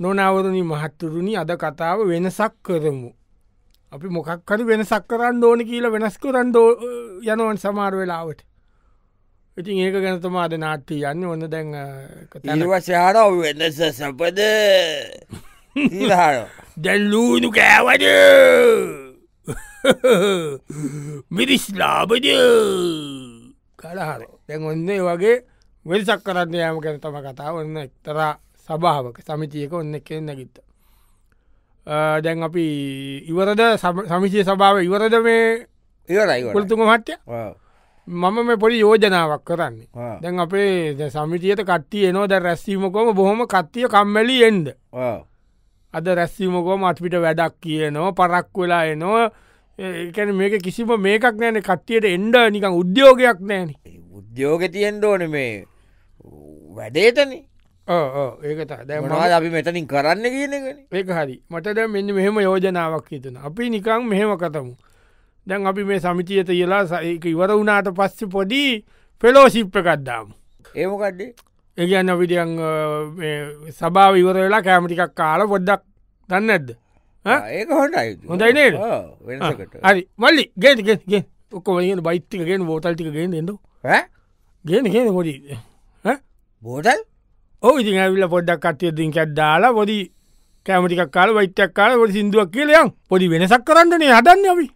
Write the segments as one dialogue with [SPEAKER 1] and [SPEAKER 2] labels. [SPEAKER 1] නොනවරණි මහත්තුරුණි අද කතාව වෙනසක් කරමු. අපි මොකක්කර වෙනසක් කරන්න ඕන කියලා වෙනස් කරන්න යනවන් සමාර වෙලාවට. ඉතින් ඒක ගැනතමාද නාට්ටී යන්න ඔන්න දැන්
[SPEAKER 2] නිර්වශාර වෙනස සපද ඉහාරෝ
[SPEAKER 1] දැල්ලූනු කෑවද මිරිස්ලාබද කලහර දැන් ඔන්න ඒ වගේ වෙනසක් කරන්න යම ගැන තම කතා ඔන්න එක්තරා සභාවක සමිතියක ඔන්න කෙන්න ගිත්ත. දැන් අපි ඉවරද සමිතිය සභාව ඉවරද මේ
[SPEAKER 2] ඉවරයි ගොඩ
[SPEAKER 1] කොළතුම මට්‍ය මම මේ පොඩි යෝජනාවක් කරන්නේ දැන් අපේ ද- සමිතියට කට්ටිය එනෝ ද රැස්සීමකොම බොහොම කත්තිය කම්මැලි එන්ඩ අද රැස්සීමකොම අත්පිට වැඩක් කියනවා පරක් වෙලා එනවා ඒකැන මේක කිසිම මේකක් නෑන කට්ටියට එන්ඩ නිකං උද්‍යෝගයක් නෑන
[SPEAKER 2] උද්‍යෝග තියෙන් ඕන මේ වැඩේතන
[SPEAKER 1] ඒකත දැම
[SPEAKER 2] මොනවාද අපි මෙතනින් කරන්න කියනගෙන
[SPEAKER 1] ඒක හරි මට දැ මෙන්න මෙහෙම යෝජනාවක් හිතන අපි නිකං මෙහෙම කතමු දැන් අපි මේ සමිතියට කියලා සඒක ඉවර වුණට පස්ස පොඩි පෙලෝශිප්ප කද්දාම
[SPEAKER 2] ඒමකඩ්ඩේ
[SPEAKER 1] ඒගන්න විඩියන් සභාව ඉවර වෙලා කෑමටිකක් කාල පොඩ්ඩක් දන්න ඇද
[SPEAKER 2] ඒක හොටයි
[SPEAKER 1] හොඳයි නේද? Ah.
[SPEAKER 2] වෙනකට
[SPEAKER 1] හරි මල්ලි ගෙන්ගෙන්ගෙන් ඔක්කොම බයිත්තිකගෙන බෝතල්ටික ගෙන් ෙඩ
[SPEAKER 2] ¿Eh?
[SPEAKER 1] ගෙන ගෙන පොඩි
[SPEAKER 2] බෝටල්
[SPEAKER 1] ඕ ඉතින් ඇවිල්ල පොඩ්ඩක් කටය දිංකත් දාලා පොඩි කෑමටිකක් කාල වෛත්‍යයක් කාල පොඩි සිින්දුවක් කියලයන් පොඩි වෙනසක් කරන්නනේ හදන්න අපි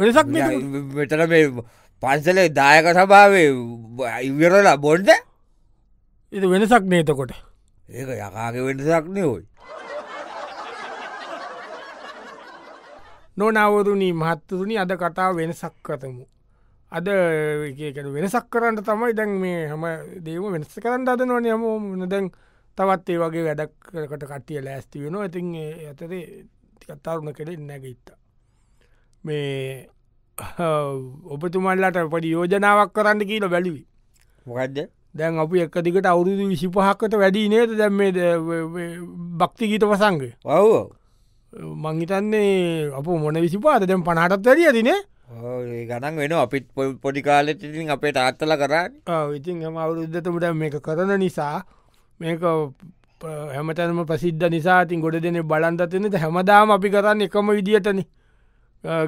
[SPEAKER 1] වෙනසක් නේද?
[SPEAKER 2] මෙතන මේ පන්සලේ දායක සභාවේ ඉවරලා බොඩ්ද
[SPEAKER 1] ඉතින් වෙනසක් නේතකොට
[SPEAKER 2] ඒක යකාගේ වෙනසක්නය ඔයි
[SPEAKER 1] නොනවරුණී මහත්තුරුණි අද කතාව වෙනසක් කතමු. අද ඒකට වෙනසක් කරන්න තමයි දැන් මේ හම දේව වෙනස් කරන්න අද නොන යම මන දැන් තවත් ඒ වගේ වැඩක්කට කටිය ලෑස්ති වෙනවා ඉතින් ඒ අතරේ කත්තාරුණ කෙරෙ නැගඉත්ත. මේ ඔබතුමල්ලට පඩි යෝජනාවක් කරන්න කියීල බැලිවි.
[SPEAKER 2] මොකක්ද
[SPEAKER 1] දැන් අපි එක දිකට අවුරුදු විසිපහක්කට වැඩි නේද දැම් මේ භක්තිගීත පසංගේ.
[SPEAKER 2] ඔව්
[SPEAKER 1] මංහිතන්නේ අප මොන විසිපාද දැම් පනාටත් වැරිය දින
[SPEAKER 2] ඔව්. ඒ ගණන් වෙන අපිත් පො- පොඩි කාලෙටඉතින් අපේ තාත්තල කරන්න
[SPEAKER 1] ඉතින් හම අවුරුද්ධතමට මේක කරන නිසා මේක ප- හැමතැනම ප්‍රසිද්ධ නිසාතින් ගොඩ දෙන බලන්තතිනට හැමදාම අපි කරන්න එකම විදිහටන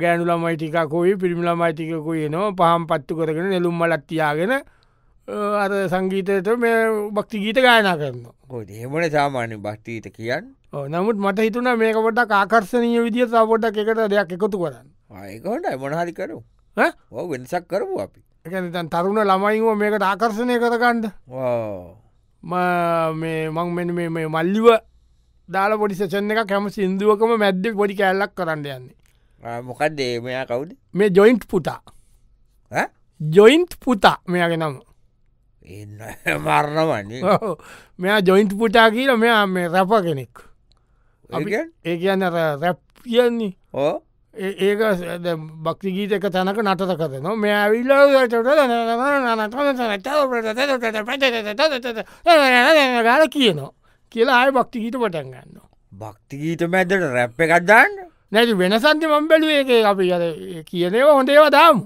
[SPEAKER 1] ගෑනු ළමයිටිකකොයි පිරිමි ළමයිටිකකුයි නවා පහම් පත්තු කරගෙන නෙළුම් මලත්තියාගෙන අර සංගීතයට මේ භක්තිගීත ගායනා කරනවා.
[SPEAKER 2] හෙමන සාමාන්‍ය භක්තිීත කියන්න
[SPEAKER 1] ඔව්. නමුත් මට හිතුන මේකපොට ආකර්ශනය විදිහ සපොට්ටක් එකට දෙයක් එකතු කරන්න.
[SPEAKER 2] ආයකොට එමනහරි කරු
[SPEAKER 1] ඈ?
[SPEAKER 2] ඔව වෙනසක් කරපු අපි
[SPEAKER 1] එකතන් තරුණ ළමයිව මේකට ආකර්ශණය කරකන්ඩ මං මෙ මේ මේ මල්ලිව දාල පොඩි සචන එක කැම සිින්දුවකම මැද්ද පොඩි කැල්ලක් කරන්න යන්නේ
[SPEAKER 2] මොකක්ද මෙයා කවුද
[SPEAKER 1] මේ ජොයින්ට් පුතා
[SPEAKER 2] ඈ?
[SPEAKER 1] ජොයින්ට් පුතා මෙයාගේ නම
[SPEAKER 2] එන්න මරණවන්නේ
[SPEAKER 1] ඔව්. මෙයා ජොයින්ට් පුටා කියල මෙයා මේ රැප කෙනෙක් අපි-
[SPEAKER 2] අපි
[SPEAKER 1] ඒ කියන්න රැප් කියන්නේ
[SPEAKER 2] ඕ
[SPEAKER 1] ඒ- ඒක භක්තිගීත එක තැනක නටත කරන මෙයා විල්ල ගල කියනවා කියලා ආය භක්තිගීත පටන් ගන්න.
[SPEAKER 2] භක්තිගීත මැදට රැප් එකක්දන්න
[SPEAKER 1] නැති වෙනසන්ති මම්බැලුව ඒ අපි අර ඒ කියනව හොඳේව දාම්.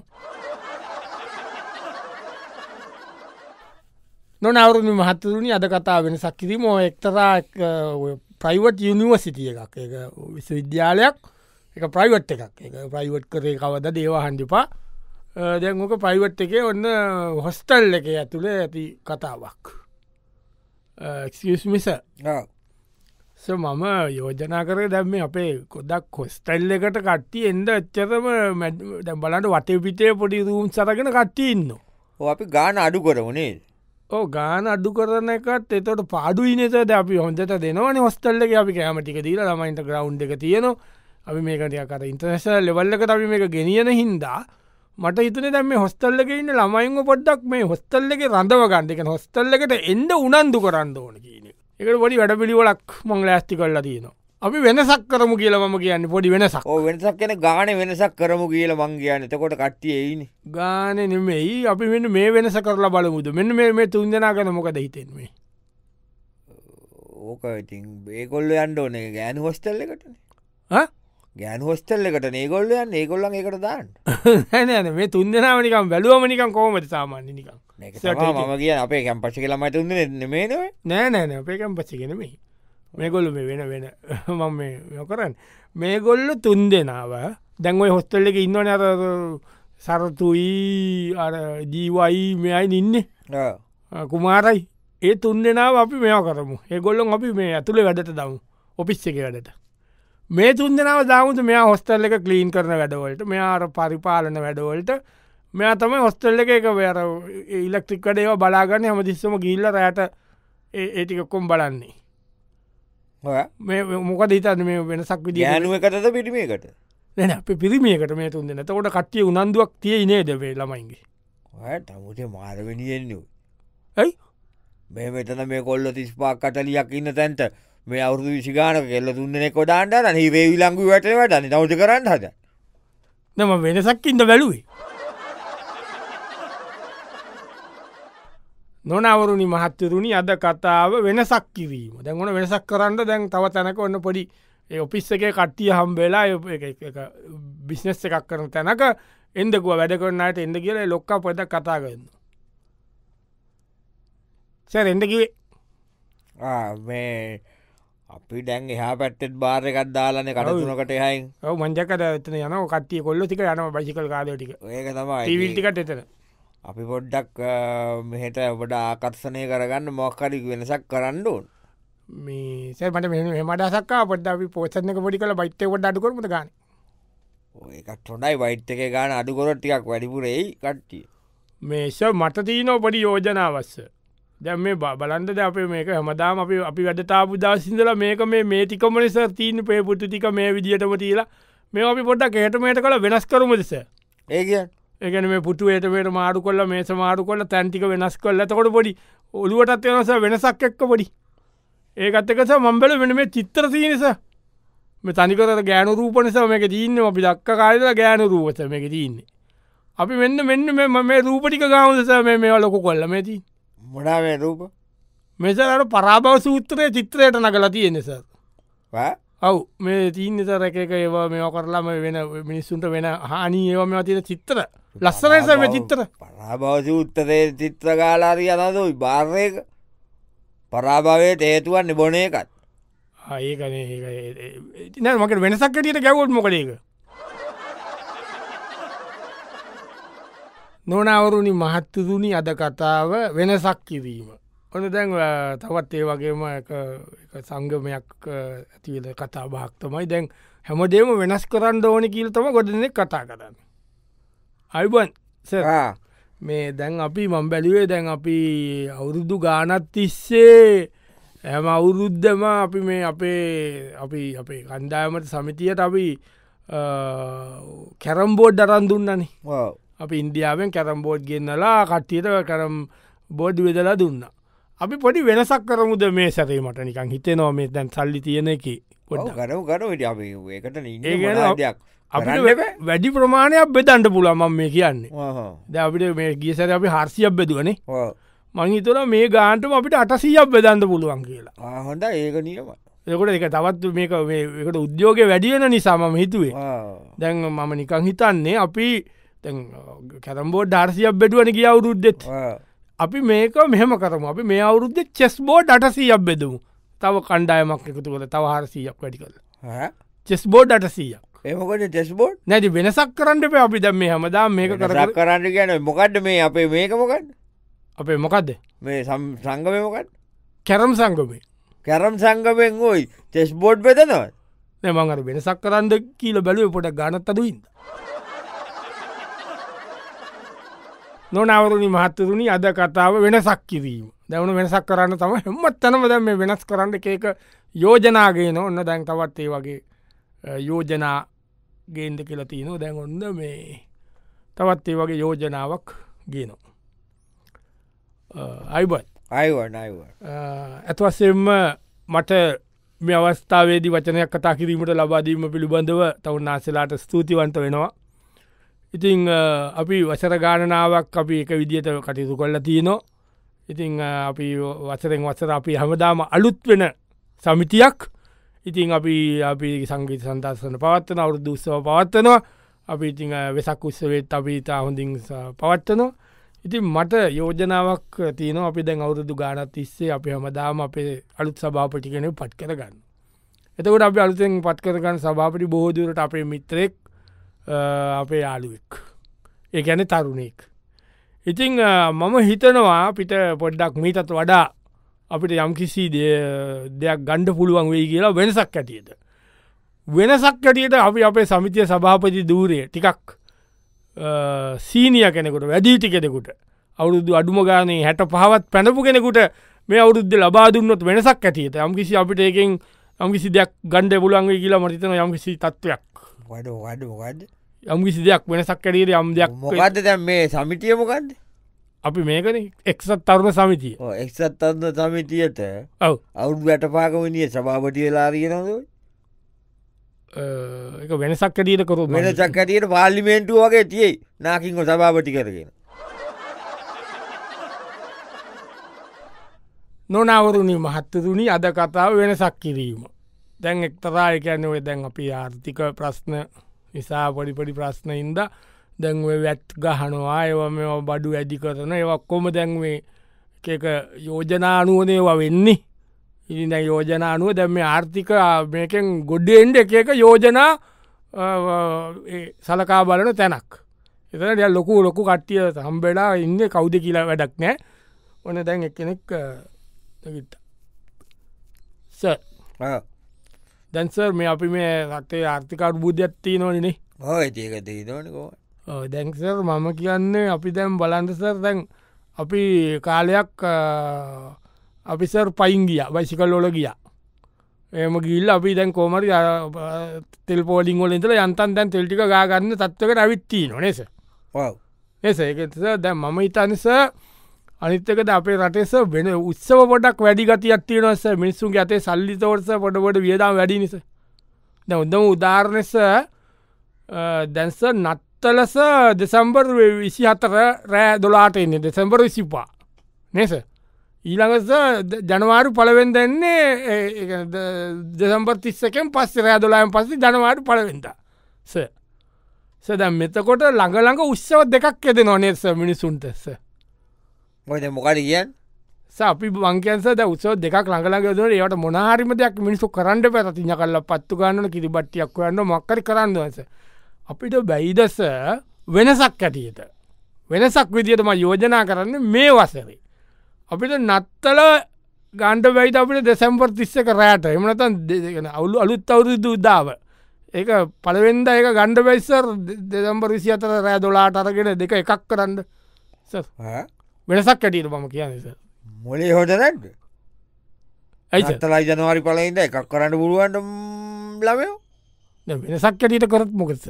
[SPEAKER 1] නොනවරුණ මහත්තුරුණි අද කතා වෙන සක්කිරීම එක්තරා ප්‍රයිවට් යනිවසිටිය එකක් එක විශ විද්‍යාලයක් එක ප්‍රයිවට් එකක් එක ප්‍රයිවට් කරේ කවද දේවහන්ඩිපා දැන්ක ප්‍රයිවට් එකේ ඔන්න හොස්ටල් එක ඇතුළේ ඇති කතාවක් එක්මිස ස මම යෝජනා කරේ දැම්ම අපේ කොදක් කොස්ටැල්ල එකට කට්ටි එන්ඩ එච්චතම දැම් බලට වටපිටේ පොඩි රූම් සරගෙන කට්ටඉන්න.
[SPEAKER 2] අපි ගාන අඩු කරවනේ
[SPEAKER 1] ඕ ගාන අඩු කරන එකත් එතට පාඩු ඉනතද අපි හොඳට දෙනවන හොස්ටල්ලක අපි කෑමටික දීල ලමයින්ට ග්‍රවන්් එක තියෙනවා අපි මේකට අර ඉන්ටනශල් ලෙවල්ලක අපි මේක ගෙනියන හින්දා මට හිතන දැම හොස්ටල්ලක ඉන්න ළමයින්ව පොඩ්ඩක් මේ හොස්ටල්ලක රඳව ගන්ඩක හොස්ටල්ලකට එන්ඩ උනන්දු කරන්න ඕන කියන එකට පොඩි වැඩ පිළිවලක් මං ලෑස්ති කල්ලා තියෙනවා අපි වෙනසක් කරමු කියලමම කියන්න පොඩි වෙනසක්
[SPEAKER 2] ඕ වෙනසක් කෙන ගාන වෙනසක් කරමු කියල මං කියන්න එතකොට කට්ටියයින
[SPEAKER 1] ගාන නෙමෙයි අපි මෙන්න මේ වෙනස කරලා බලමුද මෙන්න මේ- මේ තුන්දනා කන මොකද හිතෙන්න්නේ
[SPEAKER 2] ඕක ඉතින් ඒකොල්ල අන්ඩ ඕන ගෑන හොස්ටල්ල එකටන
[SPEAKER 1] හ?
[SPEAKER 2] ගෑන් හොස්ටල්ල එකට ඒගොල්ල යන්න ඒගොල්ලන් එකට දාන්න
[SPEAKER 1] හැන මේ තුන්දෙනමනිකම් බැලුවමනිකම් කෝමට සාමාන්‍ය නිකම්
[SPEAKER 2] ඒක
[SPEAKER 1] සට්
[SPEAKER 2] තමා
[SPEAKER 1] එකේ.
[SPEAKER 2] මම කිය අපේ කැම්පච්ි කලමට උන්න නෙමේ නොව
[SPEAKER 1] නෑ නෑන අපේකම් පච්චිගෙනමේ මේගොල්ල මේ වෙන වෙන මම යොකරන්න මේගොල්ල තුන් දෙනාව දැන්වයි හොස්තල්ල එක ඉන්නවන අර සරතුයි අර ජීවයි මෙයි ඉන්න
[SPEAKER 2] ආ.
[SPEAKER 1] කුමාරයි ඒ තුන් දෙනාව අපි මෙයා කරමු ඒගොල්ලොන් අපි මේ ඇතුළේ වැඩට දමු ඔපිස් එක වැඩට මේ තුන් දෙනාව දාමුතු මෙයා හොස්තල් එක කලීන් කරන වැඩවලට මෙයාර පරිපාලන වැඩවලට මෙයා තමයි හොස්තල් එක එක වැර ඉලක්ට්‍රික්කට ඒවා බලාගන්න හම දිස්සම ගිල්ල රෑට ඒටිකොක්කොම් බලන්නේ
[SPEAKER 2] ඔය
[SPEAKER 1] මේ මොකද හිතන්න මේ වෙනසක් විදිිය
[SPEAKER 2] ගෑනුව එකටද පිටිමේකට
[SPEAKER 1] නැන අප පිරිමියකට මේ තුන් දෙන තකොට කට්ටිය උනන්දුවක් තිය ඉනේ දවේ ළමයින්ගේ
[SPEAKER 2] ඔය තමුට මාරවෙනියෙන්න්නු
[SPEAKER 1] ඇයි
[SPEAKER 2] මේ මෙතන මේ කොල්ල තිස්පාක් කටලියක් ඉන්න තැන්ට මේ අවුදු විසිගාන කෙල්ල දුන්නෙ කොඩාන්ට හිරේ විලංගු වැටවට නවත කරන්න හද
[SPEAKER 1] නම වෙනසක් ඉද බැලුවේ නොනවරුණි මහත්තරුණි අද කතාව වෙනසක් කිරීම දැන්වන වෙනසක් කරන්න දැන් තව තැනක ඔන්න පොඩි ඒ ඔපිස් එක කට්ටිය හම් වෙලා බිස්නස් එකක් කරන තැනක එන්දකුව වැඩ කරන්නට එද කියල ලොක්ක පොද කතා කරන්න සැ එඩකිවේ
[SPEAKER 2] මේ අපි ඩැන් එහා පැත්තෙත් බාරකත් දාලන කටතුනකට එහයි
[SPEAKER 1] ඔව මංජකද එතන යන කට්ටිය කොල්ල ටික යන බයිසිකල් කාදටික
[SPEAKER 2] ඒක තමයි
[SPEAKER 1] ටීවිල්ටිකට එතන
[SPEAKER 2] අපි පොඩ්ඩක් මෙහට ඔබට ආකර්සනය කරගන්න මොක්කඩි වෙනසක් කරන්නඩුවන්
[SPEAKER 1] මේ සැමට මෙ මට සක් පොට අපි පෝසන පොඩි කල බයිත්තකොට අඩුකරමට ගන
[SPEAKER 2] ඒකත් හොඩයි වයිට් එක ගාන අඩුකොරට ටිකක් වැඩිපුරෙයි කට්ටිය
[SPEAKER 1] මේෂ මට තියනෝ පොඩි යෝජනාවස්ස දැම් මේ බ- බලන්ද ද අපේ මේක හමදාම අපි අපි වැඩතාපු දසිදල මේක මේ මේතිකම නිස තීන පේපුට්ටු ටික මේ විදිටම තිීලා මේ අපි පොඩ්ඩක් හටමට කළ වෙනස් කරම දෙස
[SPEAKER 2] ඒකන්
[SPEAKER 1] ඒගන මේ පුටු ඒටමට මාරු කොල්ල මේ සමාරු කොල්ල තැන්ටික වෙනස් කොල් ඇතකොට පොඩි ඔළුවටත් වෙනස වෙනසක් එක්ක පොඩි ඒකත්තකස මම්බල වෙන මේ චිත්‍ර සීනිස මේ තනිකර ගෑනු රූපනිස මේක දීන්න අපි දක්ක කාලලා ගෑනු රූපස මේක දීන්නේ අපි මෙන්න මෙන්න මේ- මම මේ රූපටික ගාමදස මේ මේවා ලොකු කොල්ල මේති
[SPEAKER 2] මොඩා මේ රූප
[SPEAKER 1] මෙසරට පරාභව සූත්‍රය චිත්‍රයට නගලා තියෙනෙස
[SPEAKER 2] වා?
[SPEAKER 1] ඔව් මේ තිීන්නස රැක එක ඒවා මෙ කරලාම වෙන මිනිස්සුන්ට වෙන හානී ඒවා මෙවා තියෙන චිත්‍ර ලස්සනස මේ චිත්‍ර
[SPEAKER 2] පරාභවසි උත්තරේ චිත්‍රකාලාරී අනද විභාර්යක පරාභාවය තේතුවන් නිබොන එකත්
[SPEAKER 1] ඒකන ඉතින මකට වෙනසක්කටියට ගැවොත් මොකලේක නොනවරුණි මහත්තතුනි අද කතාව වෙනසක් කිරීම ඔන්න දැන් අ, තවත් ඒ වගේම එක- එක සංගමයක් ඇතිවල කතා භාක්තමයි දැන් හැමදේම වෙනස් කරන්න ඕන කියල්තම ගොඩනෙ කතා කරන්න අයිබන් සර
[SPEAKER 2] ආ,
[SPEAKER 1] මේ දැන් අපි මං බැලිවේ දැන් අපි අවුරුදු ගානත් තිස්සේ ඇම අවුරුද්ධම අපි මේ අපේ අපි අපේ කණ්ඩායමට සමිතියට අපි අ, කැරම්බෝඩ් දරන් දුන්නනේ
[SPEAKER 2] ඔව්.
[SPEAKER 1] අපි ඉන්දියාවෙන් කැරම්බෝඩ් ගෙන්න්නලා කට්ටියට කරම් බෝඩ් වෙදලා දුන්න. අපි පොඩි වෙනසක් කරමුද මේ සැරීමට නිකං හිතනවා මේ දැන් සල්ලි තියෙන එක
[SPEAKER 2] ඔව්, කරමු කරමු ඉතින් අපි ඒකට ඉන්න
[SPEAKER 1] ඒ ගැන
[SPEAKER 2] මොනාද දෙයක්
[SPEAKER 1] අපිට
[SPEAKER 2] කරන්න
[SPEAKER 1] වැ- වැඩි ප්‍රමාණයක් බෙදන්ට පුළමන් මේ කියන්නේ
[SPEAKER 2] බෑ. ඔව්,
[SPEAKER 1] ද අපිට මේ ගියසර අපි හර්සියක් බෙදුවනේ
[SPEAKER 2] ඔව්.
[SPEAKER 1] මංහිතර මේ ගාන්ටම අපිට අටසියක් බෙදන්න පුළුවන් කියලා
[SPEAKER 2] ආ, හොඳ ඒක නියම
[SPEAKER 1] එකොට එක තවත් මේක මේ- එකට උද්‍යෝග වැඩියෙන නිසාම හිතුවේ දැන් මම නිකං හිතන්නේ අපි කැරම්බෝඩ් ඩාර්සියක් බෙඩුවන කිය අවුරුද්ධෙත් අපි මේක මෙහම කරම අපි මේ අවුරුද්ධ චෙස් බෝඩ් අටසියක් බෙදමු තව කණ්ඩායමක් එකතු කළ තව හරසියක් වැඩි කළ චෙස් බෝඩ් අටසියක්
[SPEAKER 2] එමකට ටෙස්බෝඩ්
[SPEAKER 1] නැති වෙනසක් කරන්නට ප අපි දැම් මේ හමදා මේක කර
[SPEAKER 2] කරක් කරන්න ගැන මොකක්ද මේ අපේ මේක මොකක්ද
[SPEAKER 1] අපේ මොකක්ද
[SPEAKER 2] මේ සම් සංගමය මොකත්
[SPEAKER 1] කැරම් සංගමේ
[SPEAKER 2] කැරම් සංගමෙන් ඕයි චෙස්බෝඩ් බෙදනවත්
[SPEAKER 1] මංහර වෙනසක් කරන්න කියීල බැලුව පොට ගනත් අදුවන්ද. නොනවරුණි මහත්තරුණි අද කතාව වෙනසක් කිරීම දැවුණු වෙනසක් කරන්න තම හෙමත් තනම දැ මේ වෙනස් කරන්න එක එක යෝජනාගේ න ඔන්න දැන් තවත් ඒ වගේ අ, යෝජනා ගේන්ද කියලා තියනො දැන් ඔන්න මේ තවත් ඒ වගේ යෝජනාවක් ගේනවා අයිබත්
[SPEAKER 2] අයිවන අයිව
[SPEAKER 1] ඇත්වසෙන්ම මට මේ අවස්ථාවේදී වචනයක් කතා කිරීමට ලබාදීම පිළිබඳව තවන් ආසලාට ස්තුතිවන්ත වෙනවා. ඉතිං අ, අපි වසර ගාණනාවක් අපි එක විදිහට කටයුතු කොල්ල තියනෝ ඉතිං අ, අපි වසරෙන් වසර අපි හමදාම අලුත් වෙන සමිතියක් ඉතිං අපි අපි සංගීත සන්දර්සන පවත්වන අවුරුදු උත්සව පවත්වනවා අපි ඉතිං අ, වෙසක් උත්සවේත් අපි ඉතා හොඳින් පවත්වනවා ඉතින් මට යෝජනාවක් තියන අපි දැන් අවුරුදු ගානත් ඉස්සේ අප හමදාම අපේ අලුත් සභාපටි කෙනෙ පට් කරගන්න. එතකට අප අලුතෙන් පත් කරගන්න සභාපටි බෝධරට අපේ මිත්‍රෙක් අ, අපේ යාලුවෙක් ඒ ඇන තරුණෙක්. ඉතිං අ, මම හිතනවා අපිට පොඩ්ඩක් මීතත් වඩා අපිට යම්කිසි දේ- දෙයක් ගණ්ඩ පුළුවන් වෙයි කියලා වෙනසක් ඇටියට. වෙනසක් ඇටියට අපි අපේ සමිතිය සභාපති දූරය ටිකක් සීනිය කෙනෙකුට වැඩීටි කෙනෙකුට අවුරුදු අඩුම ගානේ හැට පහවත් පැනපු කෙනෙකුට මේ අවුරුද්ධ ලබා දුන්නොත් වෙනසක් ඇතිත යම්කිසි අපිට ඒකෙන් යම්කිසි දෙයක් ගණ්ඩ පුලන්ගේ කියලා මරිතන යම්කිසි තත්ත්වයක්
[SPEAKER 2] වඩ වඩ වඩ
[SPEAKER 1] යම්කිසි දෙයක් වෙනසක් කැඩීර යම් දෙයක් වෙයි.
[SPEAKER 2] මොකක්ද දැම් මේ සමිතියමකක්ද
[SPEAKER 1] අපි මේකන එක්සත් තරුණ සමිතිය
[SPEAKER 2] එක්සත් අන්න සමිතියට
[SPEAKER 1] ඔව
[SPEAKER 2] අවුදු වැටපාකමනිය සභාපටිය ලාරියනද
[SPEAKER 1] එක වෙනසක් කැඩීට කරු
[SPEAKER 2] මෙන චක්කටියට පාල්ලිමේන්ටු වගේ තියයි නාකින්ව සභාපටි කරගෙන
[SPEAKER 1] නොනවරුණි මහත්තතුනි අද කතාව වෙනසක් කිරීම. දැන් එක්තරා එකැනවේ දැන් අපි ආර්ථික ප්‍රශ්න නිසා පොඩිපඩි ප්‍රශ්නයින්ද දැන් ඔය වැත් ගහනවා ඒව මෙ බඩු ඇඩි කරන ඒවක්කොම දැන්වේ එක යෝජනානුවනේවා වෙන්නේ. ඉරින යෝජනානුව දැම මේ ආර්ථික මේකෙන් ගොඩ්ඩෙන්ඩ එක එක යෝජනා අ, ඒ සලකා බලන තැනක්. එතන ඩ ලොකු ලොකු කට්ටිය සම්බෙලා ඉන්න කෞුද කියලා වැඩක් නෑ ඕන දැන් එකනෙක් තකිට ස
[SPEAKER 2] ආ.
[SPEAKER 1] දැන්සර් මේ අපි මේ රටේ ආර්ථිකර බුද්ධත්ති නොනනේ
[SPEAKER 2] ඔය ඒකද දෝනකෝ
[SPEAKER 1] දැන්සර් මම කියන්නේ අපි දැම් බලන්දසර් දැන් අපි කාලයක් අ, අපිසර් පයින් ගිය බයිසිකල් ලොල ගිය එම ගිල් අපි දැන් කෝමරි අ, අ, තෙල් පෝලිින් ොලින්තල යන්තන් දැන් තෙල්ටික ගාගන්න තත්වකට අවිත්තිී නොනෙස එස ඒකස දැන් මම ඉතනිස අනිත්තකද අපේ රටෙස වෙන උත්සව පොඩක් වැඩි ගතියත්තිය නොස මිනිස්සුන් ඇතේ සල්ලි තෝරස පොඩපොඩ වියදාම් වැඩි නිස දැ උදම උදාරණෙස දැන්ස නත්තලස දෙසම්බර් විසි අතර රෑ දොලාට එන්නේ දෙසම්බර විසිපා නෙස ඊළඟස ද- ජනවාරු පලවෙෙන්දන්නේ දෙසම්බර් තිස්සකෙන් පස්ස රෑ දොලායන් පස්සේ ජනවාරු පලවෙෙන්ද ස සැදැම් මෙතකොට ළඟළඟ උත්සව දෙකක් ඇද නොනෙස මිනිසුන්ටෙස්ස
[SPEAKER 2] මොද මොකට කියන්
[SPEAKER 1] අපි බංකන්ස ද උත්සව දෙකක් ළඟලග දර ඒට මොනාහරිම දෙයක් මිනිසු කරන්ඩ පැතින කල්ල පත්තු ගන්නන කිරිබට්ටියක් වන්න මක්කරි කරන්නවස. අපිට බැයිදස වෙනසක් ඇටියට. වෙනසක් විදිටම යෝජනා කරන්න මේ වසරේ. අපිට නත්තල ගණ්ඩ වැයිට අපිට දෙසැම්පර් තිස්සක රෑට එමනතන් දෙගෙන අවුලු අලුත් අවුරුදු උදාව. ඒක පළවෙන්ද ඒ ගණ්ඩ වැයිස්සර් දෙදම්බර් විසි අතර රෑ දොලාට අරගෙන දෙක එකක් කරන්න සර්, වෙනසක් ඇටියට මම කියන්නේෙස.
[SPEAKER 2] මොලේ හොටරැඩ්
[SPEAKER 1] ඇයිස
[SPEAKER 2] ඇතලයි ජනවාරි පලයිද එකක් කරන්න පුළුවන්ට ලබයෝ
[SPEAKER 1] වෙනසක් ඇටට කරත් මොකෙස